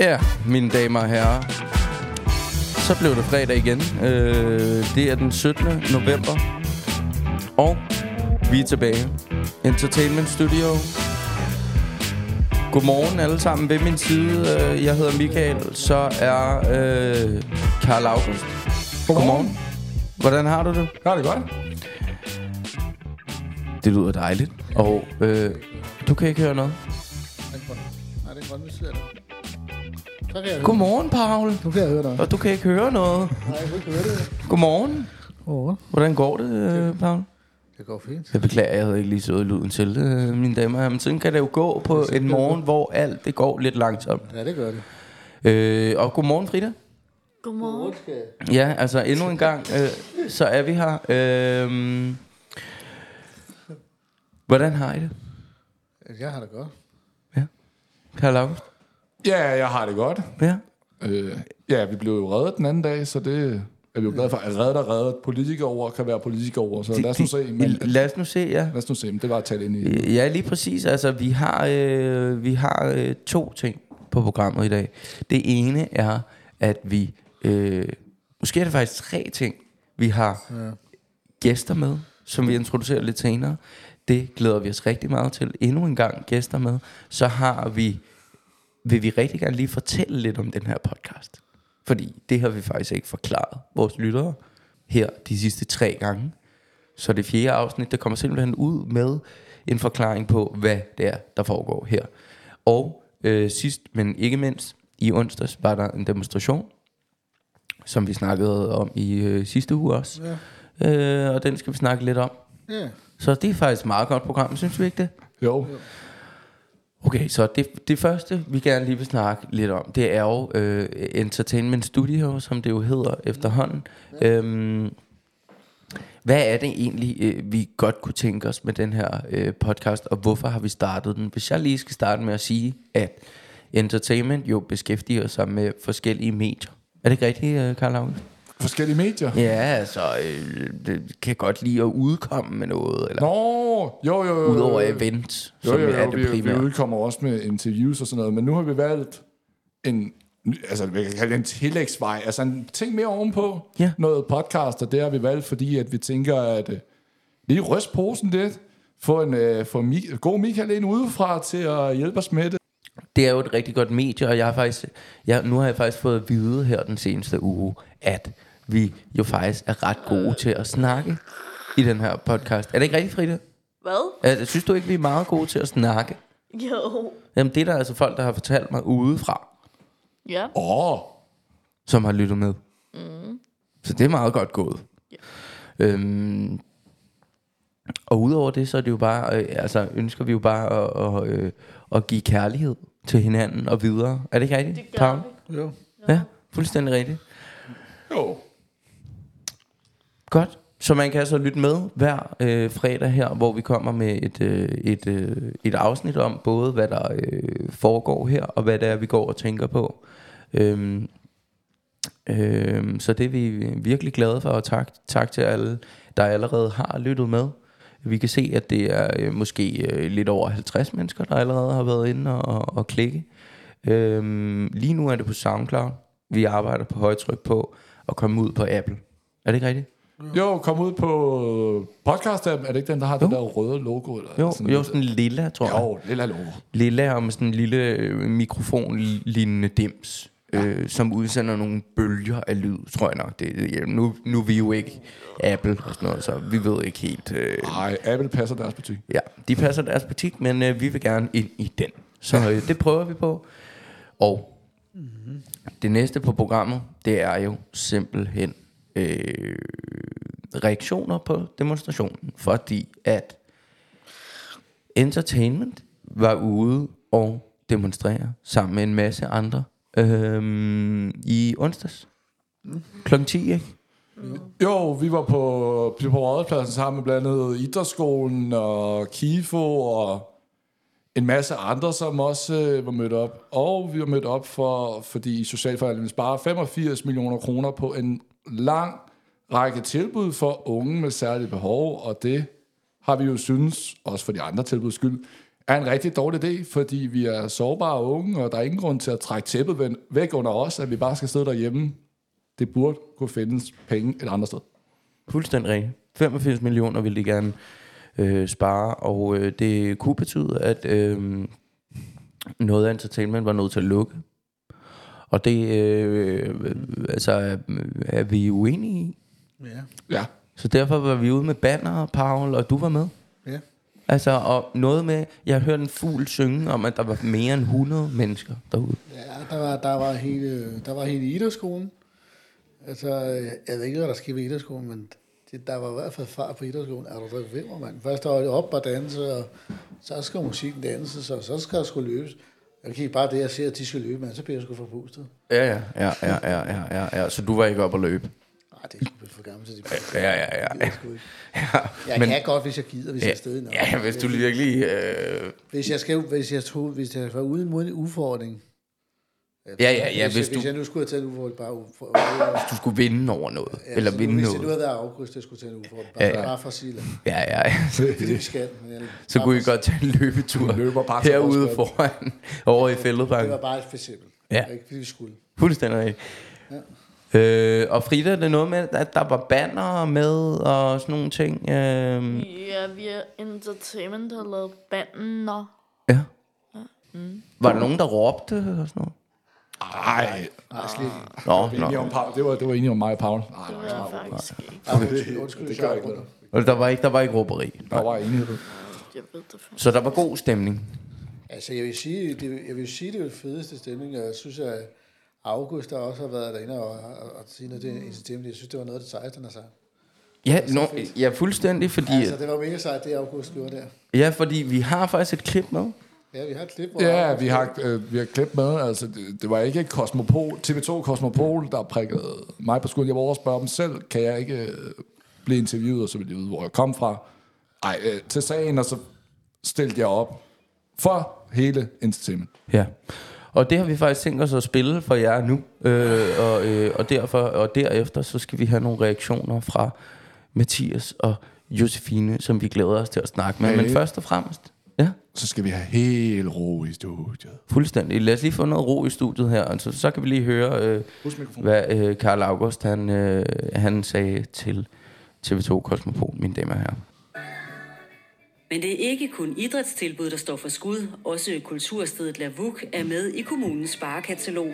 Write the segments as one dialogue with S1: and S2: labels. S1: Ja, mine damer og herrer. Så blev det fredag igen. Øh, det er den 17. november. Og vi er tilbage. Entertainment Studio. Godmorgen alle sammen. Ved min side, øh, jeg hedder Michael, så er øh, Karl August. Godmorgen. Hvordan har du det?
S2: Har det godt?
S1: Det lyder dejligt. Og øh, du kan ikke høre noget.
S2: Nej, det er godt, vi ser det. Så kan jeg høre.
S1: Godmorgen, Paul.
S2: Nu kan jeg høre dig.
S1: Og du kan ikke høre noget.
S2: Nej, jeg kan ikke høre det.
S1: Godmorgen.
S2: Åh,
S1: Hvordan går det, øh, Paul?
S2: det går fint.
S1: Jeg beklager, jeg havde ikke lige sået lyden til, øh, mine damer og herrer. Men sådan kan det jo gå på en morgen, hvor alt det går lidt langsomt.
S2: Ja, det gør det.
S1: Øh, og godmorgen, Frida.
S3: Godmorgen.
S1: Ja, altså endnu en gang, øh, så er vi her. Øh, hvordan har I det,
S2: Jeg har det godt.
S1: Karl August?
S4: Ja, jeg har det godt.
S1: Ja.
S4: Øh, ja, vi blev jo reddet den anden dag, så det er vi jo glade for. At reddet og reddet. Politikere over kan være politikere over, så lad os nu se. Men,
S1: Lad os nu se, ja.
S4: lad os nu se, men det var at tale ind i.
S1: Ja, lige præcis. Altså, vi har, øh, vi har øh, to ting på programmet i dag. Det ene er, at vi... Øh, måske er det faktisk tre ting. Vi har ja. gæster med, som vi introducerer lidt senere. Det glæder vi os rigtig meget til. Endnu en gang gæster med. Så har vi... Vil vi rigtig gerne lige fortælle lidt om den her podcast. Fordi det har vi faktisk ikke forklaret vores lyttere her de sidste tre gange. Så det fjerde afsnit, der kommer simpelthen ud med en forklaring på, hvad det er, der foregår her. Og øh, sidst, men ikke mindst, i onsdags var der en demonstration, som vi snakkede om i øh, sidste uge også. Ja. Øh, og den skal vi snakke lidt om.
S2: Ja.
S1: Så det er faktisk et meget godt program, synes vi ikke det?
S4: Jo,
S1: Okay, så det, det første, vi gerne lige vil snakke lidt om, det er jo øh, Entertainment Studio, som det jo hedder efterhånden. Øhm, hvad er det egentlig, øh, vi godt kunne tænke os med den her øh, podcast, og hvorfor har vi startet den? Hvis jeg lige skal starte med at sige, at entertainment jo beskæftiger sig med forskellige medier. Er det ikke rigtigt, øh, Karl August?
S4: forskellige medier.
S1: Ja, altså, øh, det kan godt lide at udkomme med noget, eller
S4: Nå, jo, jo, jo.
S1: udover
S4: jo,
S1: event,
S4: jo,
S1: som
S4: jo,
S1: er
S4: jo,
S1: det
S4: vi, vi
S1: primære.
S4: udkommer også med interviews og sådan noget, men nu har vi valgt en, ny- altså vi kan kalde det en tillægsvej, altså en ting mere ovenpå,
S1: Ja.
S4: noget podcast, og det har vi valgt, fordi at vi tænker, at øh, lige ryst posen lidt, få en øh, få Mi- god Michael ind udefra til at hjælpe os med det.
S1: det er jo et rigtig godt medie, og jeg har faktisk, jeg, nu har jeg faktisk fået at vide her den seneste uge, at vi jo faktisk er ret gode til at snakke i den her podcast. Er det ikke rigtigt, Frida?
S3: Hvad?
S1: Altså, synes du ikke, vi er meget gode til at snakke?
S3: Jo.
S1: Jamen, det er der altså folk, der har fortalt mig udefra,
S3: Ja.
S4: Åh, oh,
S1: som har lyttet med. Mm. Så det er meget godt gået.
S3: Ja.
S1: Øhm, og udover det, så er det jo bare, øh, altså, ønsker vi jo bare at, at, øh, at give kærlighed til hinanden og videre. Er det ikke rigtigt?
S3: Det gør
S1: Paul?
S3: vi.
S2: Jo.
S1: Ja, fuldstændig rigtigt.
S4: jo.
S1: Godt. Så man kan altså lytte med hver øh, fredag her, hvor vi kommer med et, øh, et, øh, et afsnit om både, hvad der øh, foregår her, og hvad det er, vi går og tænker på. Øhm, øhm, så det er vi virkelig glade for, og tak, tak til alle, der allerede har lyttet med. Vi kan se, at det er øh, måske øh, lidt over 50 mennesker, der allerede har været inde og, og klikke. Øhm, lige nu er det på SoundCloud. Vi arbejder på højtryk på at komme ud på Apple. Er det ikke rigtigt?
S4: Jo, kom ud på podcast Er det ikke den, der har jo. det der røde logo? Eller
S1: Jo,
S4: sådan
S1: sådan, jo,
S4: lidt?
S1: sådan lilla, tror jeg.
S4: jo, lille logo.
S1: Lilla og med sådan en lille øh, mikrofonlignende dims, øh, som udsender nogle bølger af lyd, tror jeg nok. Det, ja, nu, nu er vi jo ikke Apple og sådan noget, så vi ved ikke helt. Øh,
S4: Nej, Apple passer deres butik.
S1: ja, de passer deres butik, men øh, vi vil gerne ind i den. Så øh, det prøver vi på. Og det næste på programmet, det er jo simpelthen øh, reaktioner på demonstrationen, fordi at Entertainment var ude og demonstrere sammen med en masse andre øhm, i onsdags. Klokken 10, ikke?
S4: Jo, vi var på, vi var på rådspladsen sammen med blandt andet Idrætsskolen og KIFO og en masse andre, som også øh, var mødt op. Og vi var mødt op, for, fordi Socialforvaltningen sparer 85 millioner kroner på en lang række tilbud for unge med særlige behov, og det har vi jo synes, også for de andre tilbuds skyld, er en rigtig dårlig idé, fordi vi er sårbare unge, og der er ingen grund til at trække tæppet ven- væk under os, at vi bare skal sidde derhjemme. Det burde kunne findes penge et andet sted.
S1: Fuldstændig rigtigt. 85 millioner ville de gerne øh, spare, og øh, det kunne betyde, at øh, noget af entertainment var nødt til at lukke. Og det øh, øh, altså, øh, er vi uenige i.
S2: Ja.
S4: Ja.
S1: Så derfor var vi ude med banner, Paul, og du var med.
S2: Ja.
S1: Altså, og noget med, jeg hørte en fugl synge om, at der var mere end 100 mennesker derude.
S2: Ja, der var, der var hele, der var hele idrætsskolen. Altså, jeg ved ikke, hvad der skete ved idrætsskolen, men det, der var i hvert fald fart på idrætsskolen. Er du der vimmer, mand? Først der var det op og danse, og så skal musikken danses, og så skal der skulle løbes. Jeg kan bare det, jeg ser, at de skal løbe, mand, så bliver jeg sgu forpustet.
S1: Ja, ja, ja, ja, ja, ja, ja, ja. Så du var ikke op at løbe?
S2: Nej, det er sgu lidt for gammelt til de
S1: Ja, ja, ja.
S2: Det er sgu ikke.
S1: ja
S2: Jeg men, kan godt, hvis jeg gider, hvis jeg er stedig nok.
S1: ja, hvis du virkelig... Øh,
S2: Hvis jeg, skal, hvis jeg, tog, hvis jeg var uden mod en udfordring.
S1: ja, ja, ja,
S2: hvis,
S1: hvis
S2: jeg,
S1: du,
S2: hvis jeg nu skulle have taget en udfordring, bare ud for, ja,
S1: du skulle vinde over noget. Ja, eller
S2: så
S1: vinde
S2: nu, Hvis jeg nu
S1: noget.
S2: havde været afgrøst, jeg skulle tage en udfordring, bare, ja, ja. bare for at sige det.
S1: Ja, ja.
S2: Det er det, vi skal. men jeg-
S1: Så
S2: bare
S1: kunne I
S2: for-
S1: godt tage en løbetur
S4: En løberbakke, som
S1: herude
S4: også
S1: foran, over i
S2: Det
S1: Fælledbanken.
S2: var bare et eksempel.
S1: Ja.
S2: Ikke fordi vi skulle.
S1: Fuldstændig rigtigt. Øh, og Frida, det er noget med, at der var banner med og sådan nogle ting. Øh,
S3: Ja, vi er entertainment, der har lavet bander.
S1: ja. Var der nogen, der råbte og sådan noget?
S4: Ej,
S2: Nej, slet ikke.
S1: Nå,
S4: enige
S1: nå.
S4: om Paul. Det var, det var enige om mig og Paul. Ej,
S3: Det var faktisk ikke.
S2: Okay. Undskyld, undskyld,
S4: det
S2: det
S4: gør
S2: gør
S4: ikke noget.
S1: Og der var ikke, der var ikke råberi.
S4: der var enighed.
S3: Jeg ved det faktisk.
S1: Så der var god stemning.
S2: Altså, jeg vil sige, det, jeg vil sige, det er den fedeste stemning, og jeg synes, at August, der også har været derinde og, og, og sige noget til en stemning, jeg synes, det var noget af det sejeste, han har sagt.
S1: Ja, nå, ja fuldstændig, fordi,
S2: Altså, det var mega sejt, det August gjorde der.
S1: ja, fordi vi har faktisk et klip med.
S2: Ja, vi har et klip, hvor
S4: Ja,
S2: August-
S4: vi har, øh, vi har klip med. Altså, det, det var ikke Cosmopol, TV2 Cosmopol, der prikkede mig på skulden. Jeg var over og spørge dem selv, kan jeg ikke øh, blive interviewet, og så ville de vide, hvor jeg kom fra. Ej, øh, til sagen, og så stillede jeg op for hele entertainment.
S1: Ja. Og det har vi faktisk tænkt os at spille for jer nu. Øh, og, øh, og, derfor, og derefter, så skal vi have nogle reaktioner fra Mathias og Josefine, som vi glæder os til at snakke med. Hey. Men
S4: Hey.
S1: først og fremmest, ja,
S4: Så skal vi have helt ro i studiet.
S1: fuldstændig. Lad os lige få noget ro i studiet her. Altså, så kan vi lige høre, øh, hvad øh, Karl August han, øh, han sagde til TV2 Kosmopol, mine damer her.
S5: Men det er ikke kun idrætstilbud, der står for skud. Også kulturstedet Lavuk er med i kommunens sparekatalog.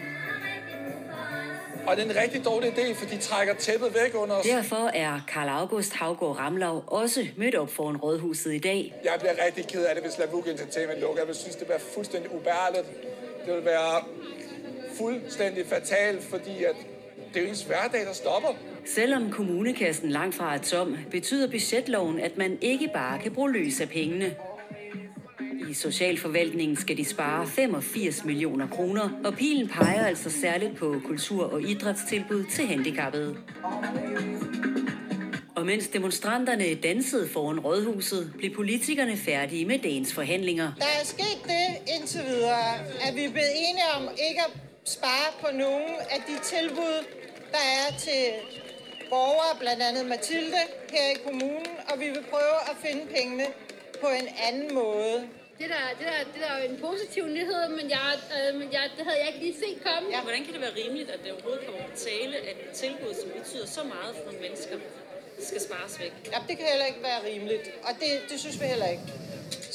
S6: Og det er en rigtig dårlig idé, for de trækker tæppet væk under os.
S5: Derfor er Karl August Havgård Ramlav også mødt op foran Rådhuset i dag.
S6: Jeg bliver rigtig ked af det, hvis Lavuk Entertainment lukker. Jeg vil synes, det bliver fuldstændig ubærligt. Det vil være fuldstændig fatalt, fordi at det er jo ens hverdag, der stopper.
S5: Selvom kommunekassen langt fra er tom, betyder budgetloven, at man ikke bare kan bruge løs af pengene. I socialforvaltningen skal de spare 85 millioner kroner, og pilen peger altså særligt på kultur- og idrætstilbud til handicappede. Og mens demonstranterne dansede foran rådhuset, blev politikerne færdige med dagens forhandlinger.
S7: Der er sket det indtil videre, at vi er blevet enige om ikke at spare på nogen af de tilbud, der er til borgere, blandt andet Mathilde her i kommunen, og vi vil prøve at finde pengene på en anden måde.
S8: Det der, det der, det der er en positiv nyhed, men jeg, øh, men jeg, det havde jeg ikke lige set komme.
S7: Ja.
S9: Hvordan kan det være rimeligt, at det overhovedet kommer på tale, at et tilbud, som betyder så meget for nogle mennesker, skal spares væk?
S7: Ja, det kan heller ikke være rimeligt, og det, det synes vi heller ikke.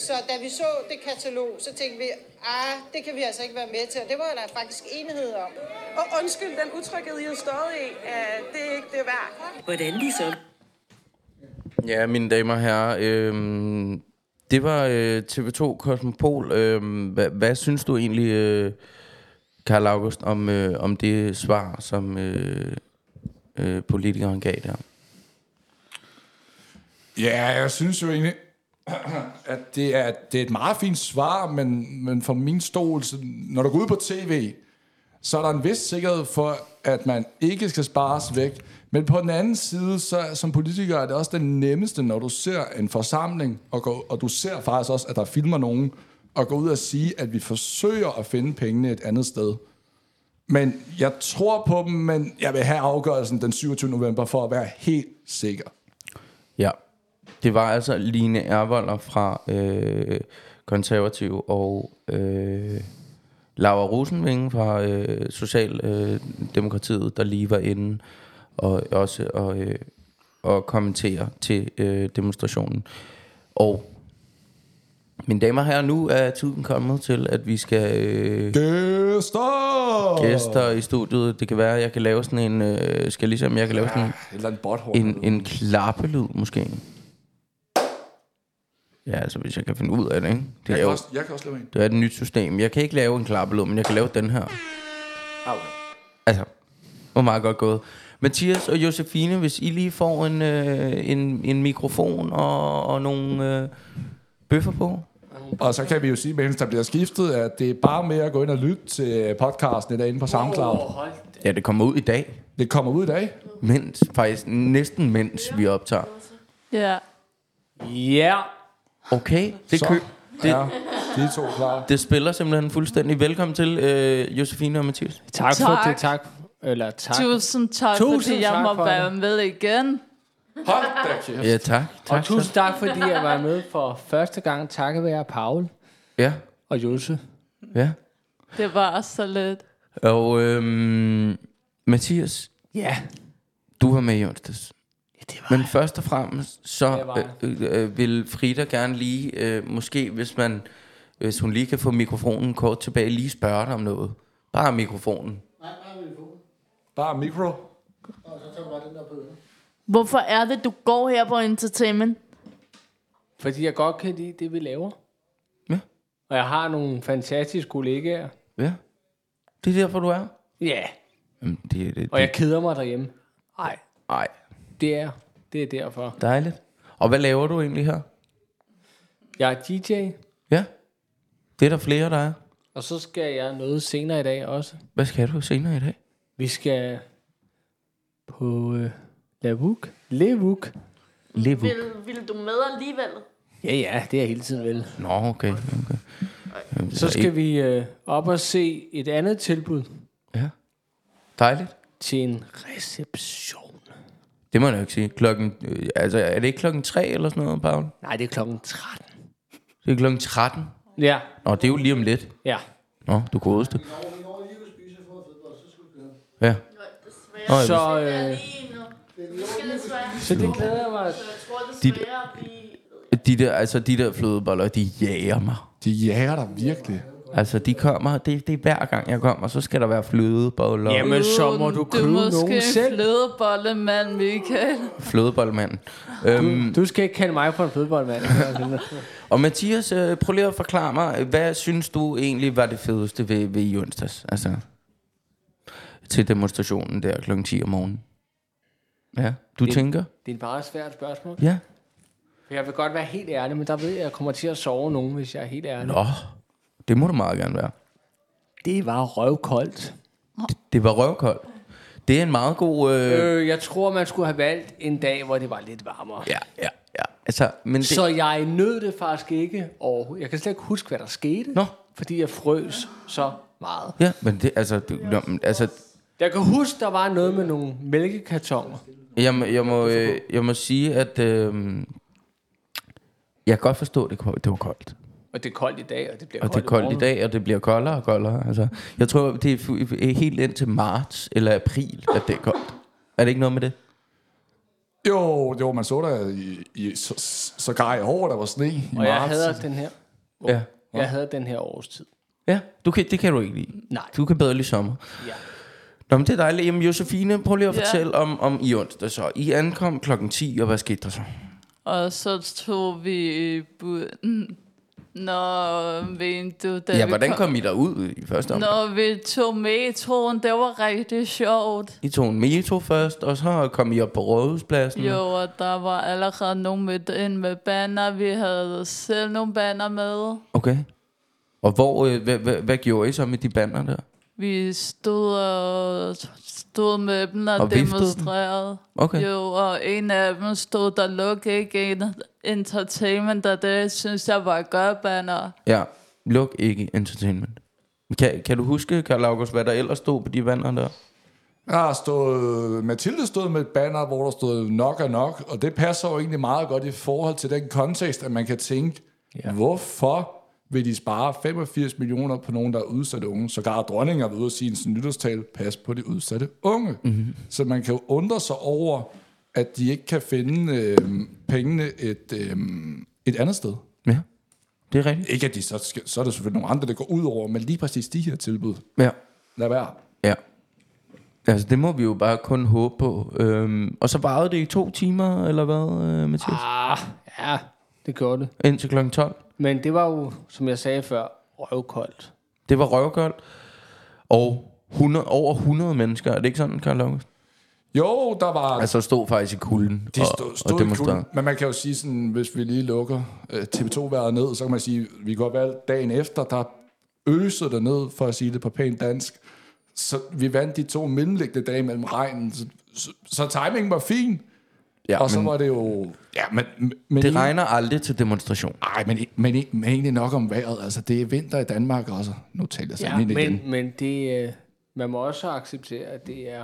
S7: Så da vi så det katalog, så tænkte vi, ah, det kan vi altså ikke være med til, og det var der faktisk enighed om.
S10: Og undskyld den utryghed, I har stået i. Øh, det er ikke det værd.
S5: Hvordan de så
S1: Ja, mine damer og herrer, øh, det var øh, TV2 Cosmopol. Øh, hvad, hvad synes du egentlig, øh, Karl August, om, øh, om det svar, som øh, øh, politikeren gav der?
S4: Ja, jeg synes jo egentlig, at det er, det er et meget fint svar, men, men for min stol, så når du går ud på tv, så er der en vis sikkerhed for, at man ikke skal spares væk. Men på den anden side, så er- som politiker er det også den nemmeste, når du ser en forsamling, og, går, og du ser faktisk også, at der filmer nogen, og går ud og sige, at vi forsøger at finde pengene et andet sted. Men jeg tror på dem, men jeg vil have afgørelsen den 27. november for at være helt sikker.
S1: Ja. Det var altså Line Ervolder fra øh, konservative, og øh, Laura Rosenvinge fra øh, Socialdemokratiet, der lige var inde og også og, øh, og kommentere til øh, demonstrationen. Og mine damer og herrer, nu er tiden kommet til, at vi skal... Øh,
S4: Gæster!
S1: gæster i studiet. Det kan være, at jeg kan lave sådan en... Øh, skal jeg ligesom, jeg kan lave sådan en,
S4: Et eller andet botthorn.
S1: en, en klappelyd, måske. Ja, altså hvis jeg kan finde ud af det, ikke? Det
S4: jeg,
S1: er
S4: kan
S1: jo
S4: også, jeg kan også lave en.
S1: det er et nyt system. Jeg kan ikke lave en klappelyd, men jeg kan lave den her.
S4: Ah, okay.
S1: Altså, hvor meget godt gået. Mathias og Josefine, hvis I lige får en, øh, en, en mikrofon og, og nogle øh, bøffer på.
S4: Og så kan vi jo sige, mens der bliver skiftet, at det er bare med at gå ind og lytte til podcasten i dag inde på SoundCloud.
S1: Ja, det kommer ud i dag.
S4: Det kommer ud i dag.
S1: Mens, faktisk næsten mens vi optager.
S11: Ja.
S12: Ja.
S1: Okay, det,
S4: Så
S1: kø- det,
S4: Ja, de er to er klar.
S1: Det spiller simpelthen fuldstændig. Velkommen til, øh, Josefine og Mathias.
S12: Tak, tak.
S11: Tak.
S12: for det. Tak. Eller tak.
S11: Tusind tak,
S12: Tusind
S11: fordi jeg
S12: tak
S11: må
S12: for
S11: være med igen.
S4: Hold da kæft.
S1: Ja, tak.
S12: Og
S1: tak
S12: tusind tak, fordi jeg var med for første gang. Takket være Paul
S1: Ja,
S12: og Jose.
S1: ja.
S11: Det var så lidt.
S1: Og øhm, Mathias,
S12: Ja.
S1: du var med i onsdags. Men først og fremmest,
S12: Det
S1: så
S12: var
S1: øh, øh, vil Frida gerne lige, øh, måske hvis man, hvis hun lige kan få mikrofonen kort tilbage, lige spørge dig om noget. Bare mikrofonen.
S4: Bare mikro.
S8: Hvorfor er det, du går her på entertainment?
S12: Fordi jeg godt kan lide det, vi laver.
S1: Ja.
S12: Og jeg har nogle fantastiske kollegaer.
S1: Ja, det er derfor, du er.
S12: Ja.
S1: Jamen, det, det,
S12: Og
S1: det.
S12: jeg keder mig derhjemme. Nej,
S1: Ej,
S12: det er, det er derfor.
S1: dejligt. Og hvad laver du egentlig her?
S12: Jeg er DJ,
S1: Ja, det er der flere, der er.
S12: og så skal jeg noget senere i dag også.
S1: Hvad skal du senere i dag?
S12: Vi skal på øh, Lavuk. Levuk.
S1: Levo.
S3: Vil, vil du med alligevel?
S12: Ja, ja, det er jeg hele tiden vel.
S1: Nå, okay. okay. Jamen,
S12: Så
S1: der er
S12: skal
S1: ikke-
S12: vi øh, op og se et andet tilbud
S1: Ja. Dejligt.
S12: til en reception.
S1: Det må jeg nok sige. Klokken, øh, altså, er det ikke klokken 3 eller sådan noget, Paul?
S12: Nej, det er klokken 13.
S1: Det er klokken 13.
S12: Ja,
S1: Nå, det er jo lige om lidt.
S12: ja.
S1: Nå, du godeste. Ja. Nå, ja,
S12: Så,
S1: hvis-
S12: øh, så det glæder jeg mig.
S1: de der, altså, de der flødeboller, de jager mig.
S4: De jager dig virkelig.
S1: Altså, de kommer, det, det er hver gang jeg kommer, så skal der være flødeboller.
S12: Jamen, så må du købe
S11: du er måske
S12: nogen
S11: en
S12: selv.
S11: flødebolle, mand, Michael.
S1: Flødebollemanden. Øhm,
S12: Du skal ikke kalde mig for en flødeboldmand.
S1: og Mathias, øh, prøv lige at forklare mig, hvad synes du egentlig var det fedeste ved, ved i onsdags? Altså, til demonstrationen der kl. 10 om morgenen. Ja, du det, tænker?
S12: det er et meget svært spørgsmål.
S1: Ja.
S12: For Jeg vil godt være helt ærlig, men der ved jeg, at jeg kommer til at sove nogen, hvis jeg er helt ærlig.
S1: Nå, det må du meget gerne være.
S12: Det var røvkoldt.
S1: Det var røvkoldt. Det er en meget god... Øh, øh.
S12: Øh, jeg tror, man skulle have valgt en dag, hvor det var lidt varmere.
S1: Ja, ja, ja. Altså, men det,
S12: Så jeg nød det faktisk ikke, og jeg kan slet ikke huske, hvad der skete,
S1: Nå.
S12: fordi jeg frøs så meget.
S1: Ja, men det, altså, det, nå, men altså
S12: Jeg kan huske, der var noget med nogle mælkekartoner.
S1: jeg, må- jeg, må, øh, jeg må sige, at øh, jeg kan godt forstå, at det, det var koldt.
S12: Og det er koldt i dag, og det bliver
S1: Og det er
S12: i
S1: koldt i
S12: morgen.
S1: dag, og det bliver koldere og koldere. Altså, jeg tror, det er fu- helt indtil marts eller april, at det er koldt. Er det ikke noget med det?
S4: Jo, jo, man så der i, i, så, så gar i år, der var sne i
S12: Og jeg
S4: marts.
S12: hader den her.
S1: Ja.
S12: Jeg havde den her årstid.
S1: Ja, du kan, det kan du ikke lide.
S12: Nej.
S1: Du kan bedre lide sommer.
S12: Ja.
S1: Nå, men det er dejligt. Jamen, Josefine, prøv lige at
S11: Ja.
S1: fortælle om, om i onsdag så. I ankom klokken 10, og hvad skete der så?
S11: Og så tog vi i buden. Nå, mente du, da
S1: Ja,
S11: vi
S1: hvordan kom I derud i første omgang?
S11: Når vi tog metroen, det var rigtig sjovt.
S1: I tog en metro først, og så kom I op på Rådhuspladsen.
S11: Jo, og der var allerede nogen mødt ind med banner. Vi havde selv nogle banner med.
S1: Okay. Og hvor, øh, hvad, hvad, hvad gjorde I så med de bander der?
S11: Vi stod, og, stod med dem og,
S1: Og
S11: og
S1: viftede dem?
S11: demonstrerede.
S1: Okay.
S11: Jo, og en af dem stod der luk ikke en entertainment, og det synes jeg var godt banner.
S1: Ja, luk ikke entertainment. Kan, kan du huske, Karl August, hvad der ellers stod på de bander der?
S4: Jeg har stået, Mathilde stod med et banner, hvor der stod nok er nok, og det passer jo egentlig meget godt i forhold til den kontekst, at man kan tænke, ja. hvorfor vil de spare 85 millioner på nogen, der er udsatte unge. Sågar dronningen har været ude at sige i sin nytårstale, pas på de udsatte unge. Mm-hmm. Så man kan jo undre sig over, at de ikke kan finde øh, pengene et, øh, et andet sted.
S1: Ja, det er rigtigt.
S4: Ikke at de så, skal, så er der selvfølgelig nogle andre, der går ud over, men lige præcis de her tilbud.
S1: Ja.
S4: Lad være.
S1: Ja. Altså, det må vi jo bare kun håbe på. Øhm, og så varede det i to timer, eller hvad, øh, Mathias?
S12: Ah, ja, det gjorde det.
S1: Indtil kl. 12.
S12: Men det var jo, som jeg sagde før, røvkoldt.
S1: Det var røvkoldt. Og 100, over 100 mennesker, er det ikke sådan, Karl August?
S4: Jo, der var...
S1: Altså stod faktisk i kulden
S4: De stod, stod
S1: og
S4: og
S1: demonstrerede.
S4: Men man kan jo sige sådan, hvis vi lige lukker øh, TV2-været ned, så kan man sige, vi går valg dagen efter, der øsede det ned, for at sige det på pænt dansk. Så vi vandt de to mellemliggende dage mellem regnen. Så, så, så timingen var fin.
S1: Ja,
S4: Ja, og så
S1: men-
S4: men, var det jo... Ja, men, men
S1: Det regner aldrig til demonstration.
S4: Nej, men, men, men, men egentlig nok om vejret. Altså, det er vinter i Danmark også. Nu taler jeg sådan
S12: Ja,
S4: ja, ind igen.
S12: men, men det, øh, man må også acceptere, at det er,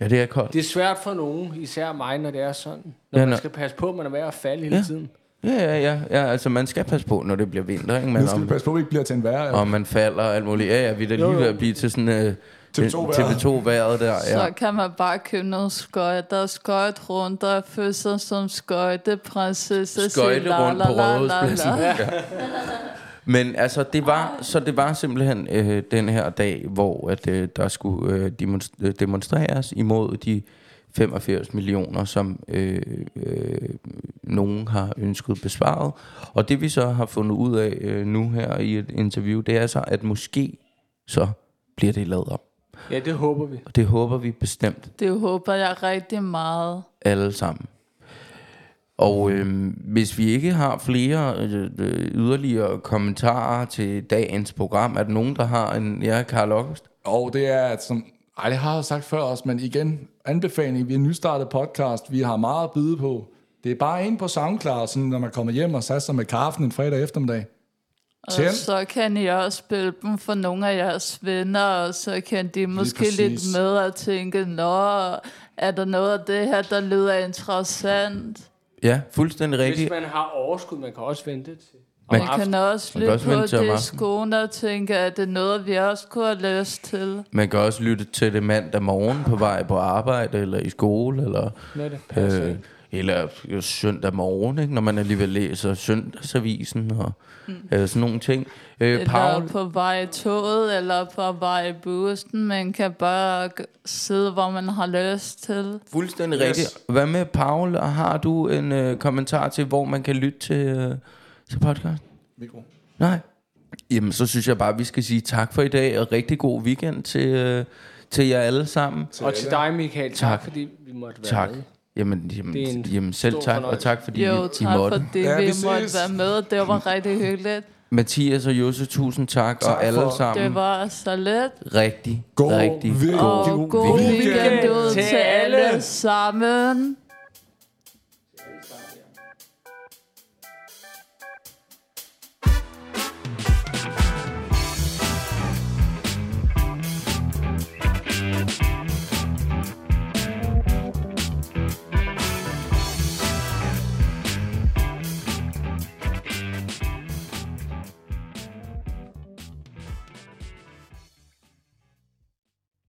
S1: Ja, det er koldt.
S12: det er svært for nogen, især mig, når det er sådan.
S1: Ja,
S12: Når ja, man
S1: nå.
S12: skal passe på, at man er ved at falde hele
S1: Ja.
S12: tiden.
S1: Ja, ja, ja, ja. Altså, man skal passe på, når det bliver vinter, ikke? Man,
S4: Nu skal vi passe på, at vi ikke bliver til en værre.
S1: og man falder og alt muligt. Ja, ja, vi er da
S4: Jo,
S1: lige
S4: jo.
S1: ved at blive til sådan... Øh,
S4: TV2-vejret.
S1: TV2-vejret der,
S11: Så
S1: ja.
S11: kan man bare købe noget skøjt. Der er skøjt rundt, der er fødsel som skøjteprinsesse.
S1: Skøjte
S11: la,
S1: rundt
S11: la,
S1: på
S11: la, la,
S1: Rådhuspladsen.
S11: la.
S1: Ja. Men altså, det var, så det var simpelthen øh, den her dag, hvor at, øh, der skulle øh, demonst- øh, demonstreres imod de 85 millioner, som øh, øh, nogen har ønsket besvaret. Og det vi så har fundet ud af øh, nu her i et interview, det er så, at måske så bliver det lavet om.
S12: Ja, det håber vi.
S1: Og det håber vi bestemt
S11: Det håber jeg rigtig meget.
S1: alle sammen. Og
S12: Mm.
S1: øh, hvis vi ikke har flere øh, øh, yderligere kommentarer til dagens program, er der nogen, der har en... Ja, Karl August?
S4: Og det er, at som, ej, det har jeg sagt før også, men igen, anbefaling, vi er en nystartet podcast, vi har meget at byde på. Det er bare ind på SoundCloud, sådan, når man kommer hjem og satser med kaffen en fredag eftermiddag.
S11: Og
S4: Tænd.
S11: så kan I også spille dem for nogle af jeres venner, og så kan de måske
S4: præcis.
S11: lidt med og tænke, Nå, er der noget af det her, der lyder interessant?
S1: Ja, fuldstændig
S12: Hvis
S1: rigtigt.
S12: man har overskud, man kan også vente det til.
S11: Man
S1: Men-
S11: kan også
S1: Man kan
S11: lytte
S1: også vente til
S11: på
S1: om
S11: det i
S1: aftenen.
S11: skolen og tænke, at det er noget, vi også kunne have lyst til.
S1: Man kan også lytte til det mandag morgen på vej på arbejde, eller i skole, eller,
S12: Når det passer
S1: øh,
S12: ind.
S1: eller jo, søndag morgen, ikke? når man alligevel læser søndagsavisen og
S12: Mm.
S1: øh, sådan nogle ting. Øh,
S11: Eller
S1: Paul,
S11: på vej i toget, eller på vej i bussen. Man kan bare g- sidde, hvor man har lyst til.
S1: fuldstændig rigtigt. Hvad med Paul? Og Har du en øh, kommentar til, hvor man kan lytte til, øh, til podcast?
S4: Mikro.
S1: Nej. Jamen, så synes jeg bare, at vi skal sige tak for i dag, og rigtig god weekend til, øh, til jer alle sammen.
S12: Og til dig, Michael, tak,
S1: Tak.
S12: tak. fordi vi måtte være
S1: Tak.
S12: med.
S1: Jamen, jamen,
S12: Det er en
S1: jamen selv
S12: stor
S1: tak, og
S12: fornøjelse.
S1: tak fordi
S11: Jo,
S1: I, I
S11: tak
S1: måtte.
S11: for det,
S4: Ja,
S11: vi
S4: vi
S11: måtte
S4: ses.
S11: være med. Det var rigtig hyggeligt.
S1: Mathias og Josse, tusind tak, tak og alle
S4: for-
S1: sammen.
S11: Det var så let.
S1: rigtig,
S4: God
S1: rigtig
S4: weekend.
S1: god
S11: Og god
S1: weekend.
S11: weekend ud
S12: Til
S11: til alle
S12: alle.
S11: sammen.